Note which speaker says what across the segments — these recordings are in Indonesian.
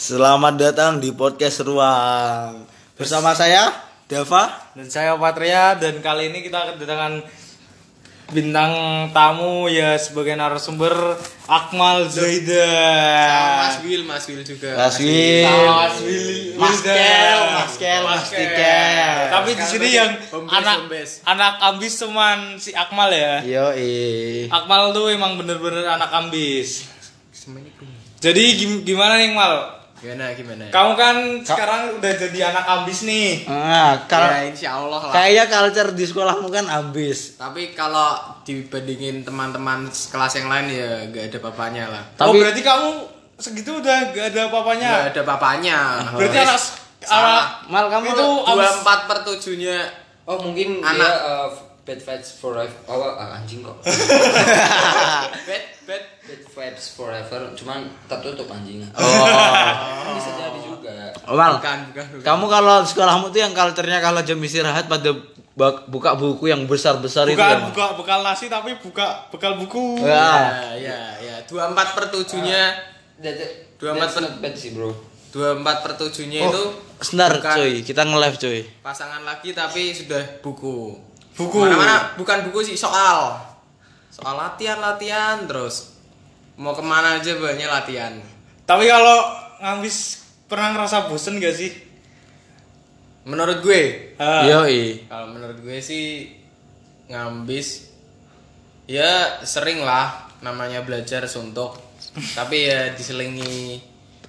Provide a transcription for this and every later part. Speaker 1: Selamat datang di podcast Ruang. Bersama saya Dava.
Speaker 2: Dan saya Patria dan kali ini kita kedatangan bintang tamu ya sebagai narasumber Akmal
Speaker 3: Mas
Speaker 2: Zaidan.
Speaker 3: Will, Mas Will juga.
Speaker 1: Raswil.
Speaker 2: Mas Willy,
Speaker 1: Maskel, Maskel, Mastikel.
Speaker 2: Tapi di sini yang
Speaker 3: Bombes,
Speaker 2: anak
Speaker 3: bombes.
Speaker 2: anak ambis cuman si Akmal ya.
Speaker 1: Yo
Speaker 2: Akmal tuh emang bener-bener anak ambis.
Speaker 3: Semuanya kuning.
Speaker 2: Jadi gim- gimana nih Mal?
Speaker 3: Gimana Ya, gimana?
Speaker 2: Kamu kan sekarang udah jadi anak ambis nih.
Speaker 1: Nah,
Speaker 3: Ya,
Speaker 1: kar-
Speaker 3: insya Allah lah.
Speaker 1: kayaknya culture di sekolahmu kan habis.
Speaker 3: Tapi kalau dibandingin teman-teman kelas yang lain ya nggak ada papanya lah.
Speaker 2: oh
Speaker 1: Tapi
Speaker 2: berarti kamu segitu udah gak ada papanya.
Speaker 3: Nggak ada papanya.
Speaker 2: Ya. Berarti
Speaker 3: Terus
Speaker 2: anak anak
Speaker 1: Mal kamu
Speaker 2: itu
Speaker 1: tuh
Speaker 3: dua
Speaker 2: abis-
Speaker 3: empat per tujuhnya
Speaker 4: Oh mungkin
Speaker 3: Anak.
Speaker 4: dia uh, bad vibes forever. Oh ah, anjing kok.
Speaker 3: bed bed.
Speaker 4: bad vibes forever. Cuman tertutup anjingnya. Kan
Speaker 1: Oh,
Speaker 4: Bisa jadi juga. ya.
Speaker 1: Mal.
Speaker 3: Bukan bukan bukan.
Speaker 1: Kamu kalau di sekolahmu tuh yang culture-nya kalau jam istirahat pada bak- buka buku yang Ah, besar-besar itu
Speaker 2: bukan
Speaker 1: ya. Mal?
Speaker 2: buka bekal nasi tapi buka bekal buku.
Speaker 1: Wah.
Speaker 3: Ya ya ya dua empat per tujuhnya
Speaker 4: That, that,
Speaker 3: Dua
Speaker 4: that's
Speaker 3: empat
Speaker 4: not bad sih bro.
Speaker 3: dua empat per tujuhnya itu
Speaker 1: Senar
Speaker 3: bukan
Speaker 1: cuy, kita nge-live cuy.
Speaker 3: pasangan lagi tapi sudah buku.
Speaker 2: Buku.
Speaker 3: Mana mana bukan buku sih soal. Soal latihan latihan terus mau kemana aja banyak latihan.
Speaker 2: Tapi kalau ngabis pernah ngerasa bosen gak sih?
Speaker 3: Menurut gue,
Speaker 2: Ah,
Speaker 1: Yo
Speaker 3: kalau menurut gue sih ngambis ya sering lah namanya belajar suntuk tapi ya diselingi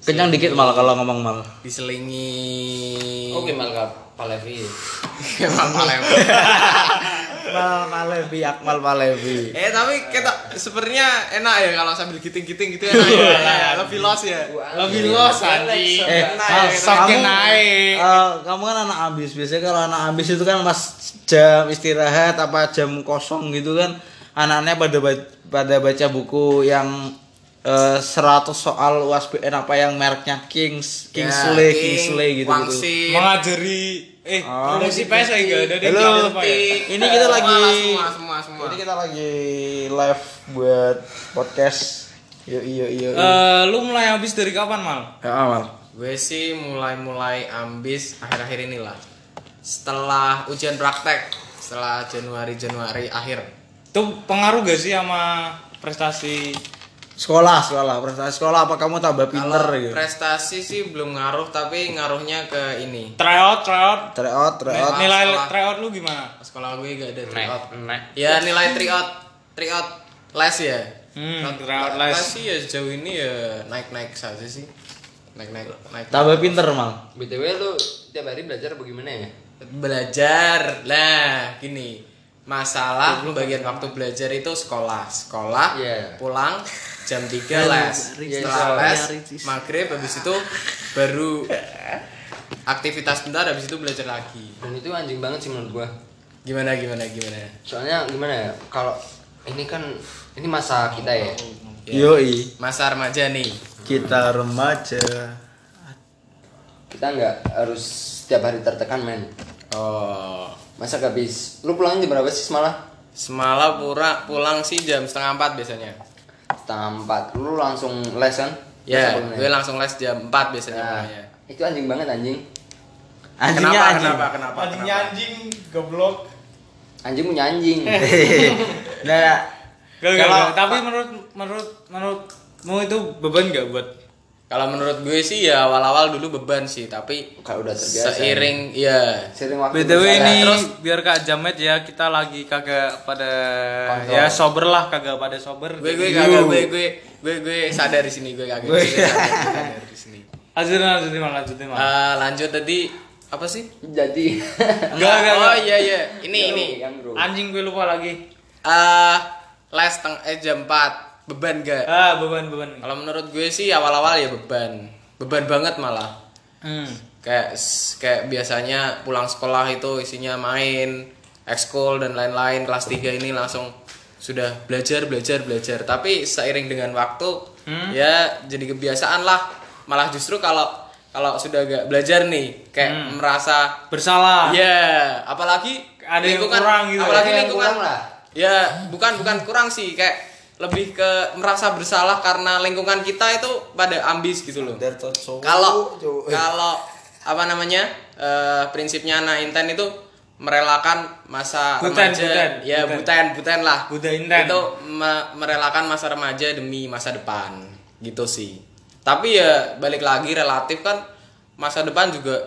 Speaker 1: Kenyang dikit mal kalau ngomong mal.
Speaker 3: diselingi Iya.
Speaker 4: Oke malah Palevi.
Speaker 3: Emang Palembang.
Speaker 1: Mal Malevi, Akmal Malevi.
Speaker 3: eh tapi kita sebenarnya enak ya kalau sambil giting-giting gitu enak ya, enak ya. lebih los ya
Speaker 2: Lebih los anjing.
Speaker 1: Eh, Mal,
Speaker 2: Saking
Speaker 1: kamu-
Speaker 2: naik.
Speaker 1: Eh, kamu kan anak ambis. Biasanya kalau anak ambis itu kan pas jam istirahat apa jam kosong gitu kan anak-anaknya pada ba- pada baca buku yang eh, 100 soal UASBN apa yang mereknya Kings,
Speaker 3: Ya,
Speaker 1: Kingsley, Kingsley gitu gitu.
Speaker 3: wangsit
Speaker 2: Mengajari eh
Speaker 1: Ah.
Speaker 2: ada si PS lagi gak ada deh,
Speaker 1: Halo.
Speaker 2: gak ada Pak, ya?
Speaker 1: Ini kita
Speaker 3: Semua
Speaker 1: lagi
Speaker 3: lah, semua semua semua
Speaker 1: Ini kita lagi live buat podcast. Yo yo yo.
Speaker 2: Eh, lu mulai habis dari kapan, Mal?
Speaker 1: Ya, Mal.
Speaker 3: gue sih mulai-mulai ambis akhir-akhir inilah setelah ujian praktek setelah Januari-Januari akhir
Speaker 2: Tuh pengaruh gak sih sama prestasi?
Speaker 1: Sekolah, sekolah, prestasi sekolah apa kamu tambah pinter
Speaker 3: kalau
Speaker 1: gitu.
Speaker 3: prestasi sih belum ngaruh tapi ngaruhnya ke ini
Speaker 2: Tryout, tryout.
Speaker 1: Tryout, tryout.
Speaker 2: Nilai
Speaker 3: sekolah.
Speaker 2: tryout lu gimana?
Speaker 3: sekolah gue gak ada tryout
Speaker 4: Nek.
Speaker 3: ya nilai tryout tryout les ya
Speaker 2: Hmm, tryout les.
Speaker 3: sih ya sejauh ini ya naik-naik saja sih naik-naik naik
Speaker 1: Tambah pinter, Mal.
Speaker 4: BTW lu tiap hari belajar bagaimana ya?
Speaker 3: belajar lah gini masalah bagian waktu belajar itu sekolah sekolah
Speaker 4: Iya.
Speaker 3: pulang jam 3 les setelah les maghrib habis itu baru aktivitas bentar habis itu belajar lagi
Speaker 4: Dan itu anjing banget sih menurut gua.
Speaker 3: gimana gimana gimana
Speaker 4: Soalnya gimana ya? Kalau ini kan ini masa kita ya.
Speaker 1: Yoi,
Speaker 3: masa remaja nih
Speaker 1: kita remaja.
Speaker 4: Kita nggak harus setiap hari tertekan men.
Speaker 3: oh
Speaker 4: Masa gak habis. Lu pulangnya jam berapa sih semalam?
Speaker 3: semalam pura pulang sih jam setengah empat biasanya
Speaker 4: setengah empat lu langsung les kan
Speaker 3: ya
Speaker 4: Langsung
Speaker 3: gue
Speaker 4: les.
Speaker 3: langsung les jam 4 biasanya
Speaker 4: Nah,
Speaker 3: pulangnya.
Speaker 4: itu anjing banget anjing
Speaker 1: Anjingnya
Speaker 3: kenapa,
Speaker 1: anjing.
Speaker 3: kenapa kenapa
Speaker 2: Anjingnya
Speaker 3: kenapa?
Speaker 2: anjing goblok.
Speaker 4: anjing punya anjing
Speaker 1: nah,
Speaker 2: Gak, gak,
Speaker 1: Kalau-
Speaker 2: gak. tapi menurut menurut menurutmu itu beban gak buat
Speaker 3: Kalau menurut gue sih ya awal-awal dulu beban sih, tapi
Speaker 4: kalau udah terbiasa
Speaker 3: seiring ya.
Speaker 4: sering waktu
Speaker 2: BTW
Speaker 4: berjalan.
Speaker 2: ini
Speaker 3: Terus-
Speaker 2: biar Kak Jamet ya kita lagi kagak pada
Speaker 4: Kontrol.
Speaker 2: ya sober lah kagak pada sober.
Speaker 3: Gue gue kagak gue gue gue gue sadar di sini gue kagak. Gue sadar, gue sadar di sini.
Speaker 2: Lanjutin lanjutin mal lanjutin mal.
Speaker 3: Eh, lanjut tadi apa sih?
Speaker 4: jadi
Speaker 2: Enggak, enggak,
Speaker 3: Oh
Speaker 2: enggak.
Speaker 3: iya iya. Ini ini.
Speaker 4: yang bro
Speaker 2: Anjing gue lupa lagi.
Speaker 3: Eh les teng eh jam 4 beban gak?
Speaker 2: Ah beban beban.
Speaker 3: Kalau menurut gue sih awal-awal ya beban. Beban banget malah.
Speaker 2: Hmm.
Speaker 3: Kayak s- kayak biasanya pulang sekolah itu isinya main, ekskul dan lain-lain. Kelas 3 ini langsung sudah belajar belajar belajar. Tapi seiring dengan waktu
Speaker 2: Hmm?
Speaker 3: ya jadi kebiasaan lah. Malah justru kalau kalau sudah gak belajar nih kayak
Speaker 2: Hmm.
Speaker 3: merasa
Speaker 2: Bersalah.
Speaker 3: Ya, apalagi
Speaker 2: Ah. Ada yang
Speaker 3: lingkungan-
Speaker 2: kurang gitu ya.
Speaker 3: Apalagi
Speaker 4: Ada yang
Speaker 3: lingkungan
Speaker 4: kurang lah.
Speaker 3: Ya, bukan bukan kurang sih kayak lebih ke merasa bersalah karena lingkungan kita itu pada ambis gitu loh
Speaker 1: Dari tuh cowok,
Speaker 3: kalau
Speaker 1: cowok.
Speaker 3: kalau apa namanya eh, prinsipnya anak inten itu merelakan masa
Speaker 2: Buten,
Speaker 3: remaja
Speaker 2: buten,
Speaker 3: ya
Speaker 2: buten.
Speaker 3: buten buten, lah
Speaker 2: Buta inten.
Speaker 3: itu me- merelakan masa remaja demi masa depan gitu sih tapi ya balik lagi relatif kan masa depan juga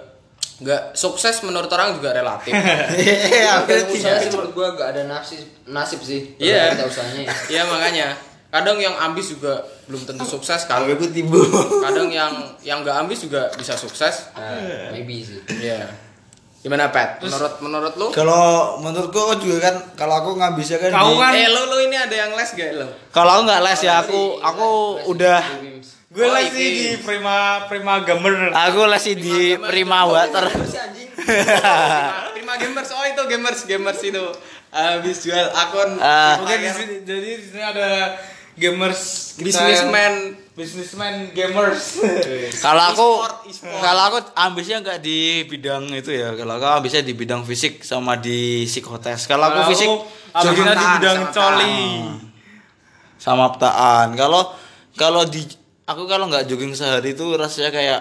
Speaker 3: nggak sukses menurut orang juga relatif
Speaker 1: Iya, akhirnya tidak.
Speaker 4: Usaha sih menurut gua gak ada nasib nasib sih.
Speaker 3: Iya.
Speaker 4: Kita usahanya. ya.
Speaker 3: ya makanya kadang yang ambis juga belum tentu sukses
Speaker 1: Kalau gitu.
Speaker 3: kalau
Speaker 1: aku timbul.
Speaker 3: kadang yang yang nggak ambis juga bisa sukses
Speaker 4: Nah, maybe sih.
Speaker 3: Iya. Gimana Pat? Menurut menurut lu?
Speaker 1: Kalau menurutku juga kan kalau aku nggak bisa kan. di-
Speaker 2: Kau kan-
Speaker 3: Eh lu lu ini ada yang les gak lu?
Speaker 1: Kalau aku nggak les ya aku aku udah
Speaker 2: Gue
Speaker 3: Oh,
Speaker 2: lagi
Speaker 3: ini. Ah,
Speaker 2: di Prima Prima Gamer.
Speaker 1: aku les di Prima Water.
Speaker 3: Prima- Prima gamers oh itu gamers gamers itu habis jual akun
Speaker 1: Ah.
Speaker 2: Oke, di sini jadi di sini ada gamers kita yang-
Speaker 3: bisnismen
Speaker 2: Businessman gamers.
Speaker 1: Kalau aku
Speaker 3: E-sport, e-sport.
Speaker 1: kalau aku ambisnya nggak di bidang itu ya. Kalau aku ambisnya di bidang fisik sama di psikotes. Kalau aku fisik
Speaker 2: abisnya
Speaker 1: jangan
Speaker 2: di
Speaker 1: tahan,
Speaker 2: bidang
Speaker 1: jangan
Speaker 2: coli.
Speaker 1: sama petaan kalau kalau di aku kalau nggak jogging sehari itu rasanya kayak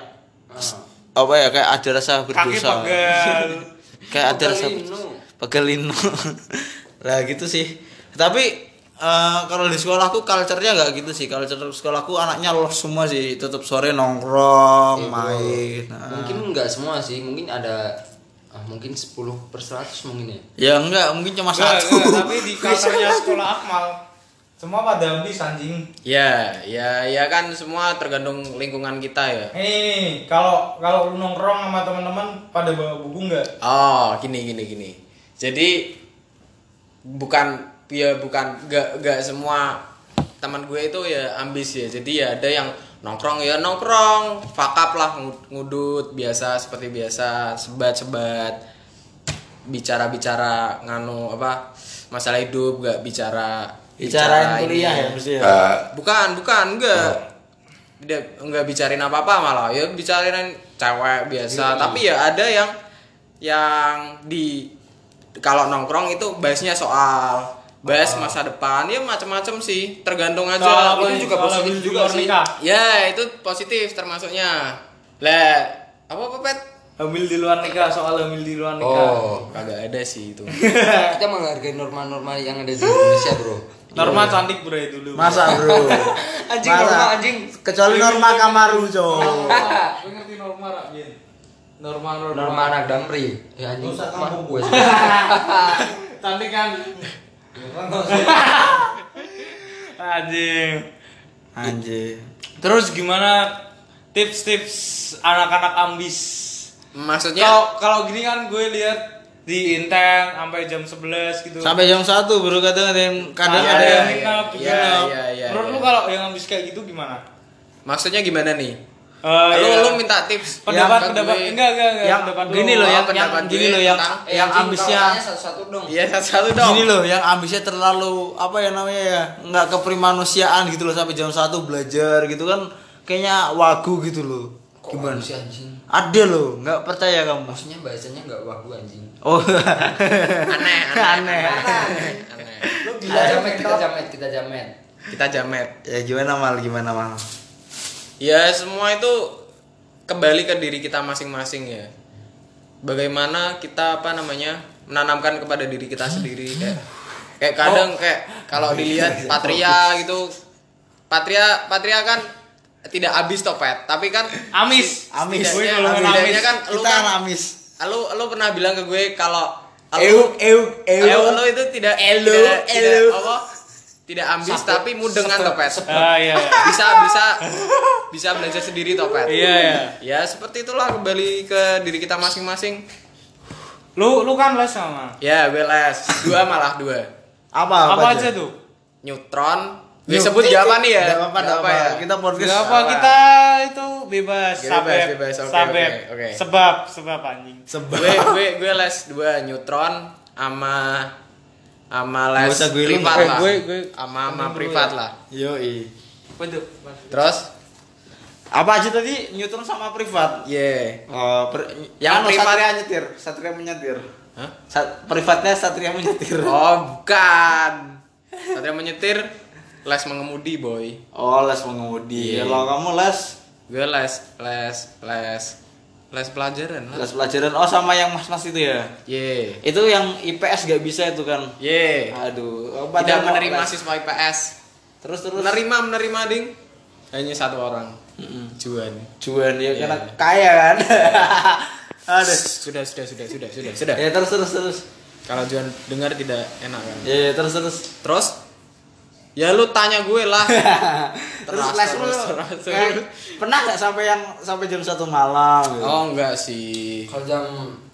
Speaker 1: s- apa ya kayak ada rasa
Speaker 2: Kaki
Speaker 1: berdosa
Speaker 2: pegel.
Speaker 1: kayak ada rasa
Speaker 4: Pegelinu.
Speaker 1: pegelinu lah gitu sih tapi eh, kalau di sekolahku culture-nya nggak gitu sih culture sekolahku anaknya los semua sih tutup sore nongkrong main nah.
Speaker 4: Iya, Mungkin nggak semua sih, mungkin ada ah, mungkin 10 per 100 mungkin ya.
Speaker 1: ya enggak mungkin cuma
Speaker 2: Enggak,
Speaker 1: satu
Speaker 2: enggak, tapi di kantornya sekolah Akmal semua pada habis anjing.
Speaker 3: ya ya ya kan semua tergantung lingkungan kita ya
Speaker 2: Ini nih, kalau kalau lu nongkrong sama teman-teman pada bawa buku enggak?
Speaker 3: oh gini gini gini jadi bukan ya bukan gak gak semua teman gue itu ya ambis ya jadi ya ada yang nongkrong ya nongkrong fakap lah ngu- ngudut biasa seperti biasa sebat sebat bicara bicara nganu apa masalah hidup gak bicara
Speaker 1: bicarain
Speaker 3: bicara
Speaker 1: kuliah
Speaker 3: ini.
Speaker 1: ya mesti ya
Speaker 3: bukan bukan enggak
Speaker 2: Oh.
Speaker 3: dia enggak bicarain apa apa malah ya bicarain cewek
Speaker 2: Iya.
Speaker 3: biasa tapi ya ada yang yang di kalau nongkrong itu bahasnya soal bahas masa depan ya macam-macam sih tergantung aja
Speaker 2: Oh. Soal apa nih? Soal habis di luar nikah.
Speaker 3: ya itu positif termasuknya lah apa apa pet
Speaker 2: Hamil di luar nikah, soal hamil di luar nikah.
Speaker 4: Oh,
Speaker 3: kagak ada sih itu
Speaker 4: kita menghargai norma-norma yang ada di Indonesia, Bro.
Speaker 2: Norma cantik bro ya dulu.
Speaker 1: masa bro
Speaker 4: Anjing, norma, anjing.
Speaker 1: kecuali norma kamaru cowok
Speaker 2: Lu ngerti norma rak Bien? Norma norma.
Speaker 4: Norma anak damri. Ya anjing,
Speaker 1: Rusak
Speaker 4: mah
Speaker 1: kampung.
Speaker 4: gue sih.
Speaker 2: Cantik kan? anjing.
Speaker 1: anjir
Speaker 2: Terus gimana tips-tips anak-anak ambis?
Speaker 3: maksudnya
Speaker 2: Kalau kalau gini kan gue lihat di Inten sampai jam 11 gitu.
Speaker 1: sampai jam satu baru kadang ada yang kadang
Speaker 2: Kadang
Speaker 3: Iya,
Speaker 1: ada yang
Speaker 2: meet
Speaker 3: iya,
Speaker 2: up,
Speaker 3: iya,
Speaker 2: juga.
Speaker 3: iya, iya,
Speaker 2: Menurut
Speaker 3: iya.
Speaker 2: lu kalau yang ambis kayak gitu gimana?
Speaker 3: maksudnya gimana nih
Speaker 2: Eh,
Speaker 3: lu
Speaker 2: iya.
Speaker 3: lu minta tips
Speaker 2: pendapat
Speaker 3: Ke
Speaker 2: pendapat
Speaker 3: gue.
Speaker 2: enggak enggak enggak
Speaker 1: yang
Speaker 2: pendapat lu.
Speaker 1: gini loh ya. yang yang
Speaker 3: Iya, pendapat
Speaker 1: gini
Speaker 3: gue
Speaker 1: loh yang
Speaker 3: tentang-
Speaker 1: yang ambisnya
Speaker 4: satu-satu dong.
Speaker 3: Iya satu dong.
Speaker 1: gini loh yang ambisnya terlalu apa ya namanya ya nggak keprimanusiaan gitu loh sampai jam satu belajar gitu kan kayaknya wagu gitu loh gimana
Speaker 4: sih anjing?
Speaker 1: ada loh nggak percaya kamu
Speaker 4: Maksudnya bahasanya enggak wagu anjing.
Speaker 1: oh
Speaker 3: Aneh, aneh,
Speaker 1: Aneh.
Speaker 3: aneh, aneh.
Speaker 4: Kita jamet, kita jamet, kita jamet.
Speaker 3: Kita jamet.
Speaker 1: ya gimana mal gimana mal
Speaker 3: Ya semua itu kembali ke diri kita masing-masing ya. Bagaimana kita apa namanya menanamkan kepada diri kita sendiri kayak kayak kadang kayak kalau dilihat Patria gitu Patria Patria kan tidak habis topet tapi kan
Speaker 2: amis.
Speaker 1: amis Iya,
Speaker 2: Gue
Speaker 3: Setidaknya-
Speaker 2: kalau
Speaker 1: amis.
Speaker 2: ngelamin
Speaker 3: setidaknya kan lu
Speaker 1: kita
Speaker 3: kan
Speaker 1: amis
Speaker 3: lu lu pernah bilang ke gue kalau
Speaker 1: euk euk
Speaker 3: Ayo
Speaker 1: euk
Speaker 3: lo itu tidak
Speaker 1: Elo,
Speaker 3: tidak, tidak
Speaker 1: elo.
Speaker 3: apa tidak ambis tapi mudeng kan topet.
Speaker 2: Ah iya. iya.
Speaker 3: Bisa bisa bisa belajar sendiri topet.
Speaker 2: Iya, iya.
Speaker 3: Ya seperti itulah kembali ke diri kita masing-masing.
Speaker 2: Lu lu kan les sama.
Speaker 3: Ya WLS dua malah dua.
Speaker 1: apa
Speaker 2: Apa, aja tuh?
Speaker 3: Neutron. Gue sebut gak apa nih ya?
Speaker 1: Gak apa-apa, gak apa-apa. Kita podcast.
Speaker 2: Gak apa kita itu bebas,
Speaker 3: Bebas,
Speaker 2: sabep,
Speaker 3: bebas, oke,
Speaker 2: sabep.
Speaker 3: oke, oke.
Speaker 2: Sebab, sebab anjing.
Speaker 1: Sebab.
Speaker 3: Gue gue gue les dua neutron sama sama les
Speaker 1: Gak usah gue lu,
Speaker 3: privat
Speaker 1: eh,
Speaker 3: lah.
Speaker 1: gue- gue-
Speaker 3: sama sama privat lah.
Speaker 1: Yoi.
Speaker 2: Waduh.
Speaker 3: Terus
Speaker 1: Apa aja tadi Newton sama privat?
Speaker 3: ye.
Speaker 1: Oh, per-
Speaker 3: Yang
Speaker 1: anu,
Speaker 3: privat-
Speaker 1: Satria nyetir, Satria menyetir.
Speaker 3: Hah?
Speaker 1: Sa- privatnya Satria menyetir.
Speaker 3: Oh bukan. Satria menyetir les mengemudi boy
Speaker 1: Oh, les mengemudi. Kalau kamu les
Speaker 3: gue les les les les pelajaran lah
Speaker 1: les pelajaran oh sama yang Mas Nas itu ya.
Speaker 3: ye
Speaker 1: Itu yang IPS gak bisa itu kan.
Speaker 3: ye
Speaker 1: Aduh,
Speaker 3: tidak
Speaker 1: padahal kok
Speaker 3: menerima
Speaker 1: les.
Speaker 3: siswa IPS
Speaker 1: Terus terus
Speaker 3: menerima menerima ding hanya satu orang Juan
Speaker 1: juan ya karena kaya kan. Aduh.
Speaker 3: sudah sudah sudah sudah sudah sudah
Speaker 1: Ya terus terus terus.
Speaker 3: kalau Juan dengar tidak enak kan
Speaker 1: Ya ya, terus terus.
Speaker 3: terus ya lu tanya gue lah
Speaker 1: terus
Speaker 3: Terasa,
Speaker 1: les lu
Speaker 3: terasa,
Speaker 1: kayak
Speaker 3: terasa.
Speaker 1: pernah nggak sampai yang sampai jam satu malam gitu?
Speaker 3: oh enggak sih
Speaker 4: Kalau jam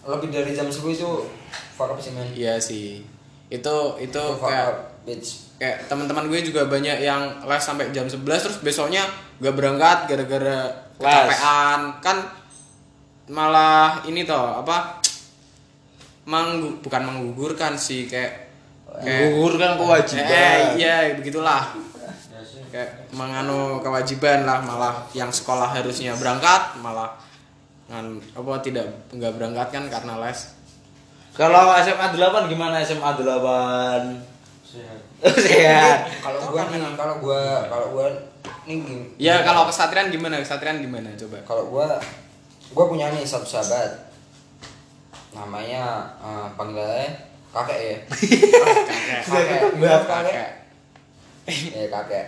Speaker 4: lebih dari jam 10 itu fuck up sih men.
Speaker 3: iya sih itu itu
Speaker 4: Itu fuck
Speaker 3: kayak
Speaker 4: up, bitch.
Speaker 3: kayak teman-teman gue juga banyak yang les sampai jam 11 terus besoknya gak berangkat gara-gara
Speaker 1: Les.
Speaker 3: kecapean kan malah ini toh apa manggu bukan menggugurkan sih kayak kayak
Speaker 1: gugur kan
Speaker 3: eh
Speaker 1: kewajiban
Speaker 3: iya begitulah kayak menganu kewajiban lah malah yang sekolah harusnya berangkat malah ngan apa tidak nggak berangkat kan karena les
Speaker 1: kalau SMA 8 gimana SMA 8 sehat
Speaker 4: Kalau gua nih, kalau gua, kalau gua nih gini.
Speaker 1: Iya,
Speaker 3: ya kalau kesatrian gimana kesatrian gimana coba
Speaker 4: Kalau gua gua punya nih satu sahabat. Namanya eh, panggilannya kakek ya. kakek.
Speaker 1: Kakek.
Speaker 4: kakek. ya kakek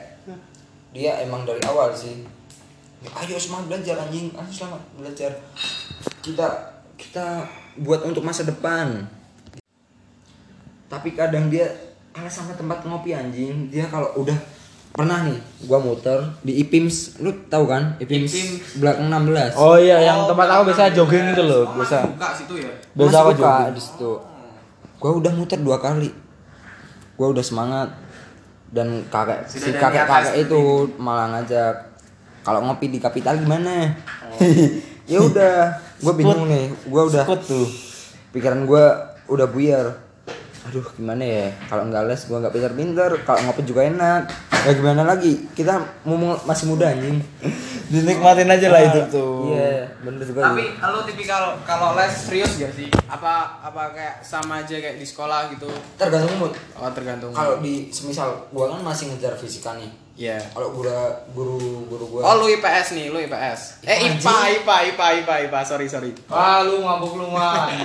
Speaker 4: dia emang dari awal sih Ya, ayo semangat belajar anjing ayo semangat belajar kita kita buat untuk masa depan tapi kadang dia kalah sama tempat ngopi anjing dia kalau udah pernah nih gua muter di IPIMS lu tahu kan IPIMS, belakang 16
Speaker 1: oh iya yang tempat aku biasa jogging itu loh biasa
Speaker 3: buka situ ya
Speaker 1: biasa
Speaker 4: Masih
Speaker 1: aku
Speaker 4: buka
Speaker 1: jogging
Speaker 4: di situ. Gua udah muter dua kali. Gua udah semangat dan kakek si
Speaker 3: Sudah ada
Speaker 4: kakek kakek
Speaker 3: niatan
Speaker 4: itu malah ngajak kalau ngopi di kapital gimana?
Speaker 3: Oh.
Speaker 4: ya udah, gua bingung nih. Gua udah
Speaker 1: Ikut tuh
Speaker 4: pikiran gua udah buyar. Aduh gimana ya? Kalau nggak les gua nggak pinter-pinter. Kalau ngopi juga enak. Ya gimana lagi? Kita mu- masih muda anjing.
Speaker 1: dinikmatin aja lah hidup tuh
Speaker 4: Iya, bener juga.
Speaker 3: tapi
Speaker 4: sih.
Speaker 3: lo tipikal kalau les serius gak sih apa apa kayak sama aja kayak di sekolah gitu
Speaker 4: tergantung mood.
Speaker 3: oh tergantung
Speaker 4: Kalau di semisal gua kan masih ngejar fisika nih.
Speaker 3: ya
Speaker 4: kalau guru guru guru gua
Speaker 3: oh lu IPS nih lu IPS eh IPA IPA IPA IPA IPA sorry sorry
Speaker 2: Wah, lu ngabuk lu mah.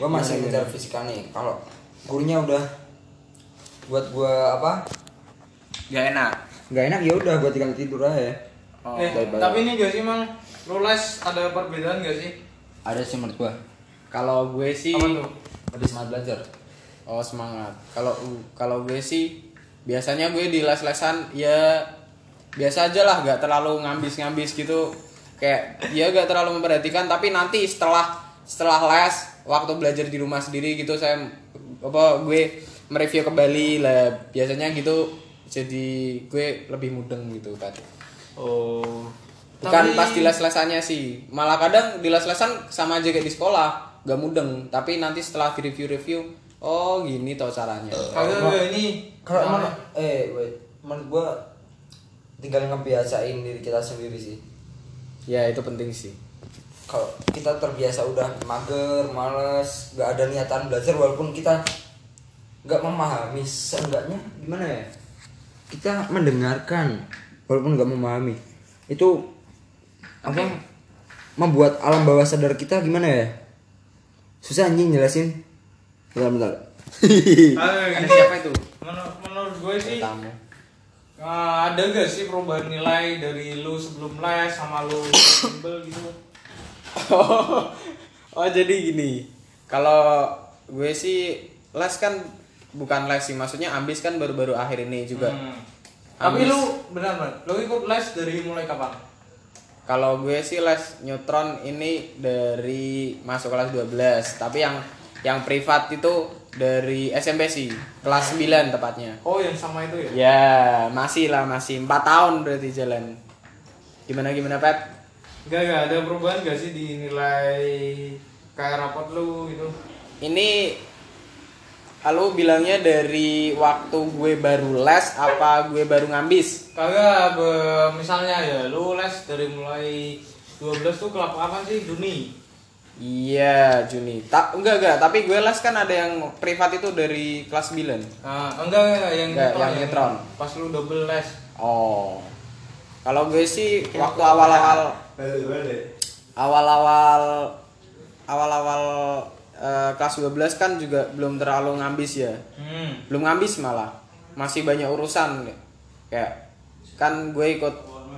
Speaker 4: gua masih ngejar fisika nih kalau gurunya udah buat gua apa
Speaker 3: gak enak
Speaker 4: nggak enak ya udah gua tinggal tidur
Speaker 2: eh,
Speaker 4: aja Bye-bye.
Speaker 2: tapi ini gak sih, Mang? Lu les ada perbedaan gak sih?
Speaker 4: ada sih menurut gua
Speaker 3: kalau gue sih
Speaker 2: Apa tuh?
Speaker 4: lebih semangat belajar
Speaker 3: oh semangat kalau kalau gue sih biasanya gue di les lesan ya biasa aja lah gak terlalu ngambis ngambis gitu kayak ya gak terlalu memperhatikan tapi nanti setelah setelah les waktu belajar di rumah sendiri gitu saya apa gue mereview kembali lah biasanya gitu jadi gue lebih mudeng gitu kan
Speaker 2: Oh.
Speaker 3: bukan pas di les-lesannya sih malah kadang di les-lesan sama aja kayak di sekolah gak mudeng tapi nanti setelah di review-review oh gini tau caranya
Speaker 2: Kagak gak ini.
Speaker 4: kalau emang eh wait menurut gua tinggal ngebiasain diri kita sendiri sih
Speaker 3: ya itu penting sih
Speaker 4: kalau kita terbiasa udah mager, males, nggak ada niatan belajar walaupun kita nggak memahami seenggaknya gimana ya? Kita mendengarkan walaupun nggak memahami itu apa? Membuat alam bawah sadar kita gimana ya? Susah anjing jelasin. Bentar, bentar.
Speaker 2: Kagak
Speaker 3: ada
Speaker 2: gini.
Speaker 3: siapa itu
Speaker 2: Menur- menurut gue sih
Speaker 3: tamu
Speaker 2: Nah, ada gak sih perubahan nilai dari lu sebelum les sama lu sebelum bimbel gitu?
Speaker 3: oh jadi gini kalau gue sih les kan bukan les sih maksudnya ambis kan baru-baru akhir ini juga
Speaker 2: Hmm. Tapi
Speaker 3: Ambis.
Speaker 2: lu benar benar, lu ikut les dari mulai kapan?
Speaker 3: Kalau gue sih les neutron ini dari masuk kelas 12, tapi yang yang privat itu dari SMP sih, kelas 9 tepatnya.
Speaker 2: Oh, yang sama itu ya?
Speaker 3: Ya, masih lah, masih 4 tahun berarti jalan. Gimana gimana, Pep?
Speaker 2: Enggak, enggak ada perubahan gak sih di nilai kayak rapot lu gitu?
Speaker 3: Ini Halo bilangnya dari waktu gue baru les apa gue baru ngambis?
Speaker 2: Kagak, be- misalnya ya lu les dari mulai 12 tuh ke kapan sih? Juni.
Speaker 3: Iya Juni. Ta enggak enggak, tapi gue les kan ada yang privat itu dari kelas 9.
Speaker 2: Ah, enggak, enggak, enggak, yang
Speaker 3: Enggak,
Speaker 2: netron,
Speaker 3: yang netron.
Speaker 2: Pas lu double les.
Speaker 3: Oh. Kalau gue sih waktu awal-awal awal-awal awal-awal eh, kelas 12 kan juga belum terlalu ngambis ya.
Speaker 2: Hmm.
Speaker 3: belum ngabis malah masih banyak urusan kayak kan gue ikut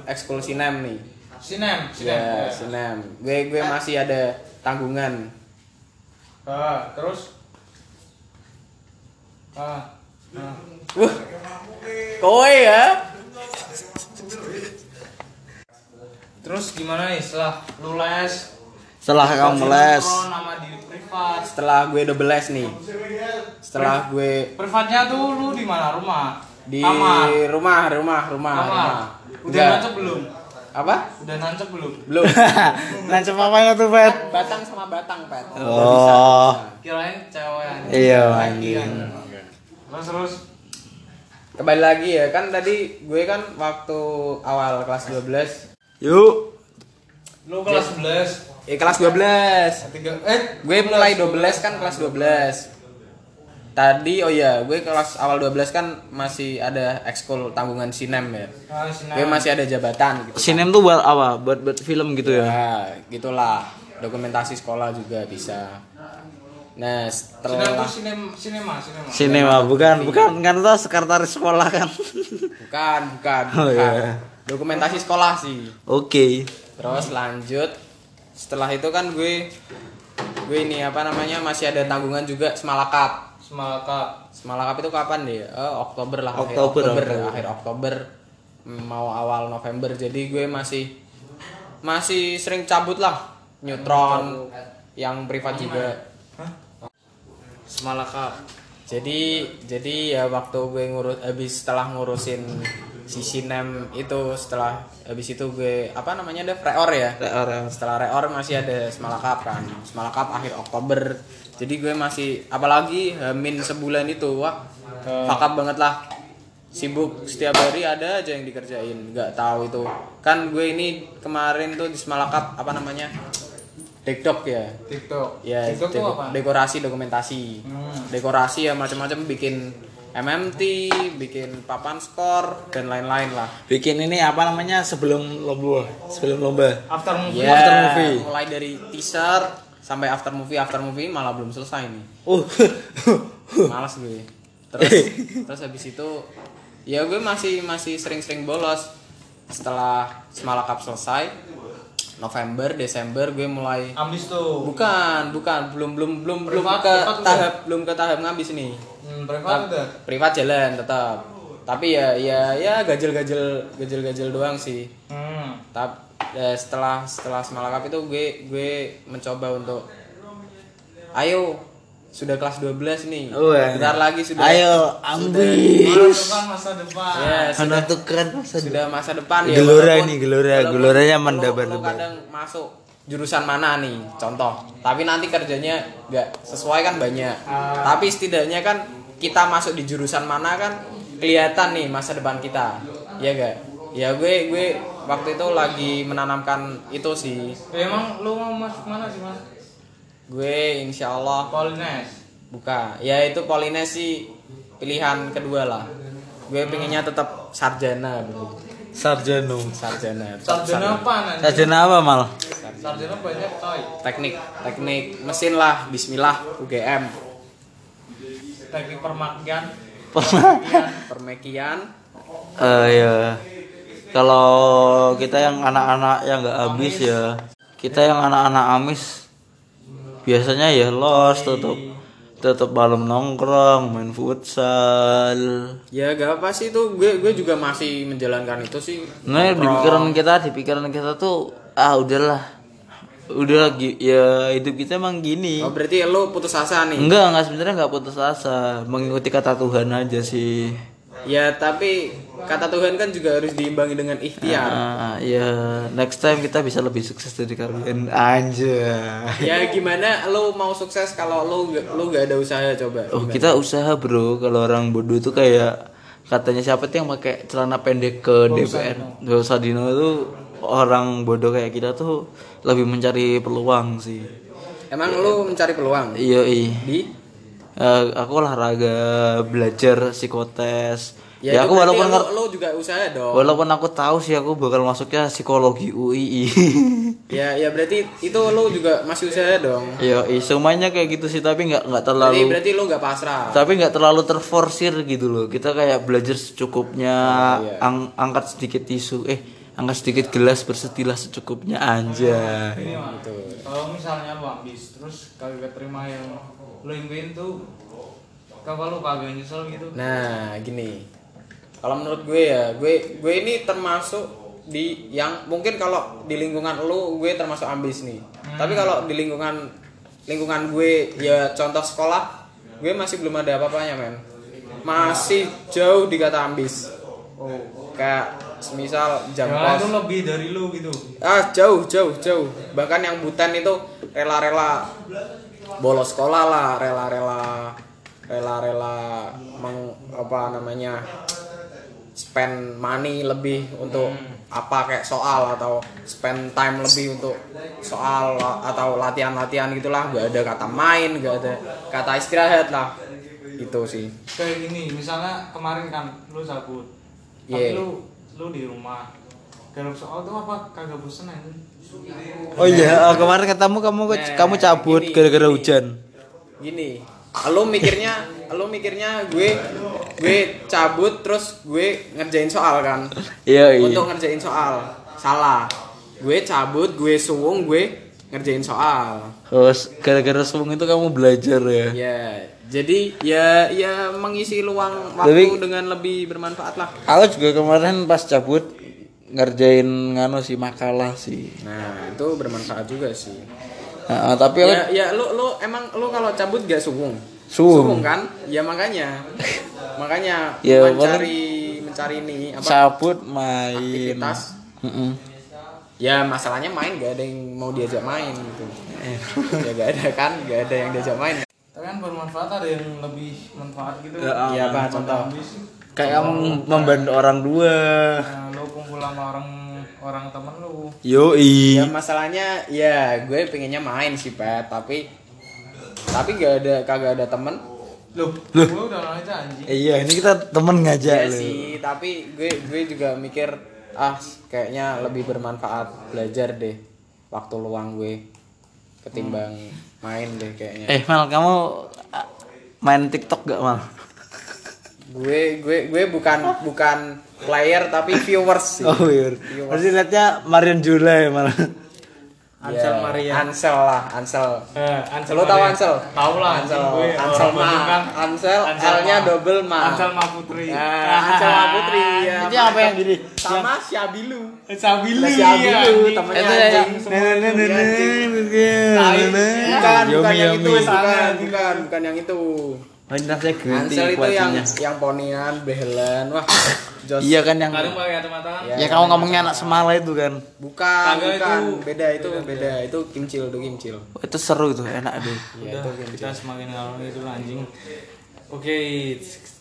Speaker 3: ekskul sinem nih
Speaker 2: Sinem, sinem.
Speaker 3: ya
Speaker 2: ya.
Speaker 3: sinem gue gue masih ada tanggungan
Speaker 2: Ah, terus Ah. ah.
Speaker 3: Wah, kowe ya
Speaker 2: Terus gimana nih setelah lu les?
Speaker 1: Setelah kamu les
Speaker 2: Sinkron Sama di privat.
Speaker 3: setelah gue double les nih setelah gue
Speaker 2: Privatnya tuh lu di mana? Rumah.
Speaker 3: di
Speaker 2: kamar.
Speaker 3: rumah rumah rumah
Speaker 2: Kamar.
Speaker 3: rumah
Speaker 2: Udah
Speaker 3: Enggak.
Speaker 2: nancep belum?
Speaker 3: apa
Speaker 2: Udah nancep belum?
Speaker 3: belum
Speaker 1: Nancep apa ya tuh, Pet?
Speaker 3: batang sama batang pet
Speaker 1: Oh.
Speaker 2: Kirain cewek.
Speaker 1: Iya,
Speaker 2: Laki kan.
Speaker 1: anjing.
Speaker 2: Terus terus
Speaker 3: kembali lagi ya kan tadi gue kan waktu awal kelas 12
Speaker 1: Yuk.
Speaker 2: lu kelas 11
Speaker 3: eh kelas 12
Speaker 2: tiga eh
Speaker 3: Gue mulai 12 kan kelas 12 Tadi oh iya gue kelas awal 12 kan masih ada ekskul tanggungan sinem ya
Speaker 2: ah, Sinem.
Speaker 3: Gue masih ada jabatan gitu
Speaker 1: Nah. Sinem tuh buat apa? Buat buat film gitu ya.
Speaker 3: Ya gitulah dokumentasi sekolah juga bisa Nah
Speaker 2: Sinem tuh
Speaker 3: setelah
Speaker 2: sinem sinema sinema
Speaker 1: Sinema bukan bukan kan tuh sekretaris sekolah kan.
Speaker 3: Bukan bukan,
Speaker 1: Oh,
Speaker 3: bukan.
Speaker 1: iya.
Speaker 3: Dokumentasi sekolah sih
Speaker 1: Oke.
Speaker 3: Terus lanjut setelah itu kan gue gue ini apa namanya masih ada tanggungan juga semalakat
Speaker 2: Semalaka
Speaker 3: Semalakap itu kapan deh? Eh, Oktober lah,
Speaker 1: Oktober,
Speaker 3: akhir Oktober,
Speaker 1: Oktober.
Speaker 3: akhir Oktober mau awal November. Jadi gue masih masih sering cabut lah Neutron yang privat juga.
Speaker 2: Semalaka
Speaker 3: Jadi jadi ya waktu gue ngurus habis setelah ngurusin si sinem itu setelah habis itu gue apa namanya ada preor ya?
Speaker 1: Orang
Speaker 3: setelah reor masih ada semalakap kan semalakap akhir Oktober jadi gue masih apalagi eh, min sebulan itu wah fakap banget lah sibuk setiap hari ada aja yang dikerjain nggak tahu itu kan gue ini kemarin tuh di semalakap apa namanya dekdok ya
Speaker 2: TikTok
Speaker 3: ya
Speaker 2: TikTok tuh
Speaker 3: deko-
Speaker 2: apa
Speaker 3: dekorasi dokumentasi dekorasi ya macam-macam bikin MMT bikin papan skor dan lain-lain lah
Speaker 1: bikin ini apa namanya sebelum lomba sebelum lomba
Speaker 2: after movie
Speaker 3: Iya,
Speaker 1: After movie.
Speaker 3: mulai dari teaser sampai after movie after movie malah belum selesai nih.
Speaker 1: uh
Speaker 3: Males gue. Terus terus habis itu ya gue masih masih sering-sering bolos. Setelah Semala Cup selesai November Desember gue mulai
Speaker 2: ambis tuh
Speaker 3: bukan bukan belum belum belum belum
Speaker 2: Privat,
Speaker 3: ke
Speaker 2: privat udah.
Speaker 3: tahap belum ke tahap ngabis nih.
Speaker 2: hmm, privat udah
Speaker 3: Privat jalan tetap. Tapi ya ya ya gajel-gajel gajel-gajel doang sih.
Speaker 2: hmm.
Speaker 3: Tap, eh, setelah setelah semalakap itu gue gue mencoba untuk ayo sudah kelas 12 nih. Bentar lagi sudah.
Speaker 1: Oh, iya. ayo ambil
Speaker 2: Masa depan masa depan
Speaker 3: Ya, sudah,
Speaker 1: menentukan masa depan.
Speaker 3: sudah masa depan ya.
Speaker 1: Gelora
Speaker 3: walaupun-
Speaker 1: nih, gelora.
Speaker 3: walaupun
Speaker 1: Geloranya
Speaker 3: lu-
Speaker 1: mendabar-dabar.
Speaker 3: lu kadang masuk jurusan mana nih contoh. Tapi nanti kerjanya nggak sesuai kan banyak. Tapi setidaknya kan kita masuk di jurusan mana kan kelihatan nih masa depan kita. Iya gak? Ya gue gue waktu itu lagi menanamkan itu sih
Speaker 2: Ya, emang lu mau masuk mana sih mas
Speaker 3: Gue insya Allah
Speaker 2: Polines
Speaker 3: buka. Ya itu Polinesi pilihan kedua lah. Gue pengennya tetap sarjana, bro.
Speaker 1: sarjana
Speaker 3: Sarjana. tetap
Speaker 2: sarjana apa nanti
Speaker 1: sarjana apa mal
Speaker 2: sarjana banyak coy
Speaker 3: Teknik, teknik mesin lah. Bismillah, UGM,
Speaker 2: teknik permakian
Speaker 3: permekian.
Speaker 1: eh ya kalau kita yang anak-anak yang nggak habis ya kita yang anak-anak amis biasanya ya los tutup tutup malam nongkrong main futsal
Speaker 3: Ya gak apa sih itu. Gue gue juga masih menjalankan itu sih.
Speaker 1: Nah, di pikiran kita, di pikiran kita tuh ah udahlah. Udah lagi ya hidup kita emang gini.
Speaker 3: Oh, berarti lo putus asa nih.
Speaker 1: Enggak, enggak sebenarnya enggak putus asa, mengikuti kata Tuhan aja sih.
Speaker 3: Ya tapi kata Tuhan kan juga harus diimbangi dengan ikhtiar.
Speaker 1: Ah, ya next time kita bisa lebih sukses dari kalian aja.
Speaker 3: Ya gimana lo mau sukses kalau lo nggak- lo gak ada usaha coba.
Speaker 1: Oh, kita usaha, Bro. Kalau orang bodoh tuh kayak katanya siapa tuh yang pakai celana pendek ke DPR. Dosa Dino tuh orang bodoh kayak kita tuh lebih mencari peluang sih.
Speaker 3: Emang lu mencari peluang
Speaker 1: Iya, iya.
Speaker 3: di
Speaker 1: Eh, aku olahraga, belajar psikotes. Ya,
Speaker 3: itu
Speaker 1: aku
Speaker 3: berarti
Speaker 1: walaupun
Speaker 3: lu,
Speaker 1: ngerti
Speaker 3: lu juga usaha dong.
Speaker 1: Walaupun aku tahu sih aku bakal masuknya psikologi UII.
Speaker 3: Ya ya berarti itu lu juga masih usaha dong.
Speaker 1: Yo, iya, semuanya kayak gitu sih tapi nggak nggak
Speaker 3: Jadi
Speaker 1: terlalu
Speaker 3: berarti lu nggak pasrah.
Speaker 1: tapi nggak terlalu terforsir gitu loh. Kita kayak belajar secukupnya,
Speaker 3: Oh, iya.
Speaker 1: ang- angkat sedikit tisu, eh angkat sedikit gelas bersetilah secukupnya aja.
Speaker 2: Kalau misalnya lu ambis terus kagak terima yang lu impiin tuh Kenapa lu kagak nyesel gitu?
Speaker 3: Nah, gini. Kalau menurut gue ya, gue gue ini termasuk di yang mungkin kalau di lingkungan lu gue termasuk ambis nih. Tapi kalau di lingkungan lingkungan gue ya contoh sekolah, gue masih belum ada apa-apanya, men. Masih jauh dikata ambis. Kayak semisal jam
Speaker 2: Jangan itu
Speaker 3: kos.
Speaker 2: lebih dari lu gitu.
Speaker 3: Ah, jauh, jauh, jauh. Bahkan yang butan itu rela-rela bolos sekolah lah, rela-rela rela-rela meng, apa namanya? spend money lebih untuk apa kayak soal atau spend time lebih untuk soal atau latihan-latihan gitulah nggak ada kata main nggak ada kata istirahat lah itu sih
Speaker 2: Kayak gini, misalnya kemarin kan lu cabut. Tapi
Speaker 3: Iya.
Speaker 2: lu lu di rumah. Garap soal tuh apa kagak bosen anjing?
Speaker 1: Oh iya, eh, kemarin ketemu kamu
Speaker 3: Nah,
Speaker 1: kamu cabut
Speaker 3: gini,
Speaker 1: gara-gara
Speaker 3: gini.
Speaker 1: hujan.
Speaker 3: gini lo mikirnya lo mikirnya gue gue cabut terus gue ngerjain soal kan
Speaker 1: Iya, iya.
Speaker 3: untuk ngerjain soal salah gue cabut gue suwung gue ngerjain soal
Speaker 1: Terus gara-gara semua itu kamu belajar ya.
Speaker 3: ya jadi ya ya mengisi luang waktu
Speaker 1: Tapi-
Speaker 3: dengan lebih bermanfaat lah
Speaker 1: Aku juga kemarin pas cabut ngerjain nganu sih makalah sih.
Speaker 3: nah itu bermanfaat juga sih
Speaker 1: Nah, tapi aku
Speaker 3: ya ya lo lo emang lo kalau cabut gak suwung
Speaker 1: Suwung.
Speaker 3: kan ya makanya makanya
Speaker 1: Ya,
Speaker 3: mencari mencari ini apa
Speaker 1: cabut main.
Speaker 3: aktivitas
Speaker 1: Mm-mm.
Speaker 3: ya masalahnya main gak ada yang mau diajak main gitu ya gak ada kan gak ada yang diajak main
Speaker 2: Tapi kan bermanfaat ada yang lebih manfaat gitu.
Speaker 1: Ya,
Speaker 3: ya apa contoh
Speaker 2: Ambis.
Speaker 1: Kayak kamu membantu orang dua.
Speaker 2: Nah, lu kumpul sama orang orang temen lu.
Speaker 1: Yoi.
Speaker 3: ya masalahnya ya gue pengennya main sih pet tapi tapi gak ada kagak ada temen
Speaker 2: Loh, lu gua udah nanya aja anjing.
Speaker 1: Eh, Iya, ini kita temen
Speaker 3: ya
Speaker 1: ngajak loh.
Speaker 3: sih tapi gue gue juga mikir ah kayaknya lebih bermanfaat belajar deh waktu luang gue ketimbang main deh kayaknya
Speaker 1: Eh, Mal, kamu ah, main TikTok gak, Mal?
Speaker 3: gue gue gue bukan bukan player tapi viewers sih
Speaker 1: Oh, iya. Pasti liatnya Marion Jula ya, Mal.
Speaker 3: Ansel Maria. Ansel Ya, lah, Ansel.
Speaker 2: Eh,
Speaker 3: Ansel lo tahu
Speaker 2: Maria.
Speaker 3: Ansel?
Speaker 2: Tahu lah
Speaker 3: Ansel.
Speaker 2: anjing gue,
Speaker 3: Ansel
Speaker 2: orang
Speaker 3: Ma.
Speaker 2: Bandung kan.
Speaker 3: Ansel,
Speaker 2: Ansel
Speaker 3: L-nya
Speaker 2: Ma.
Speaker 3: double Ma.
Speaker 2: Ansel Maputri.
Speaker 3: Nah, Ansel Ma Putri. Ya,
Speaker 1: Itu apa yang Iya, gini?
Speaker 3: Sama Syabilu. Iya,
Speaker 2: Sabili.
Speaker 3: Lah, Syabilu
Speaker 2: anjing. Eh, ya,
Speaker 3: temennya
Speaker 1: Itu
Speaker 3: anjing. Bukan, bukan yang itu, bukan,
Speaker 2: Anjing.
Speaker 3: bukan, bukan yang itu.
Speaker 1: Pantasnya green
Speaker 3: Ansel
Speaker 1: tea
Speaker 3: itu yang
Speaker 1: kuacinya.
Speaker 3: yang ponian, behelen, wah. Jos.
Speaker 1: Iya kan yang
Speaker 2: Kadang pakai kacamata
Speaker 3: Iya.
Speaker 2: kan.
Speaker 1: Ya kamu ngomongnya anak semala itu kan.
Speaker 3: Bukan,
Speaker 2: Kagak
Speaker 3: bukan.
Speaker 2: itu.
Speaker 3: Beda itu, iya. beda. Itu kimcil, itu kimcil.
Speaker 1: Wah, Oh, Itu seru tuh, enak deh.
Speaker 2: Udah, kita semakin ngalor gitu lah, anjing. Oke,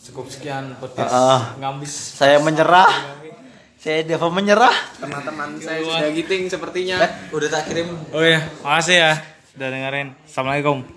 Speaker 2: cukup sekian podcast
Speaker 1: Ah.
Speaker 2: ngambis.
Speaker 1: Saya menyerah. Saya Deva menyerah.
Speaker 3: Teman-teman saya sudah giting sepertinya.
Speaker 1: Udah tak kirim
Speaker 2: Oh iya, makasih ya udah dengerin. Assalamualaikum.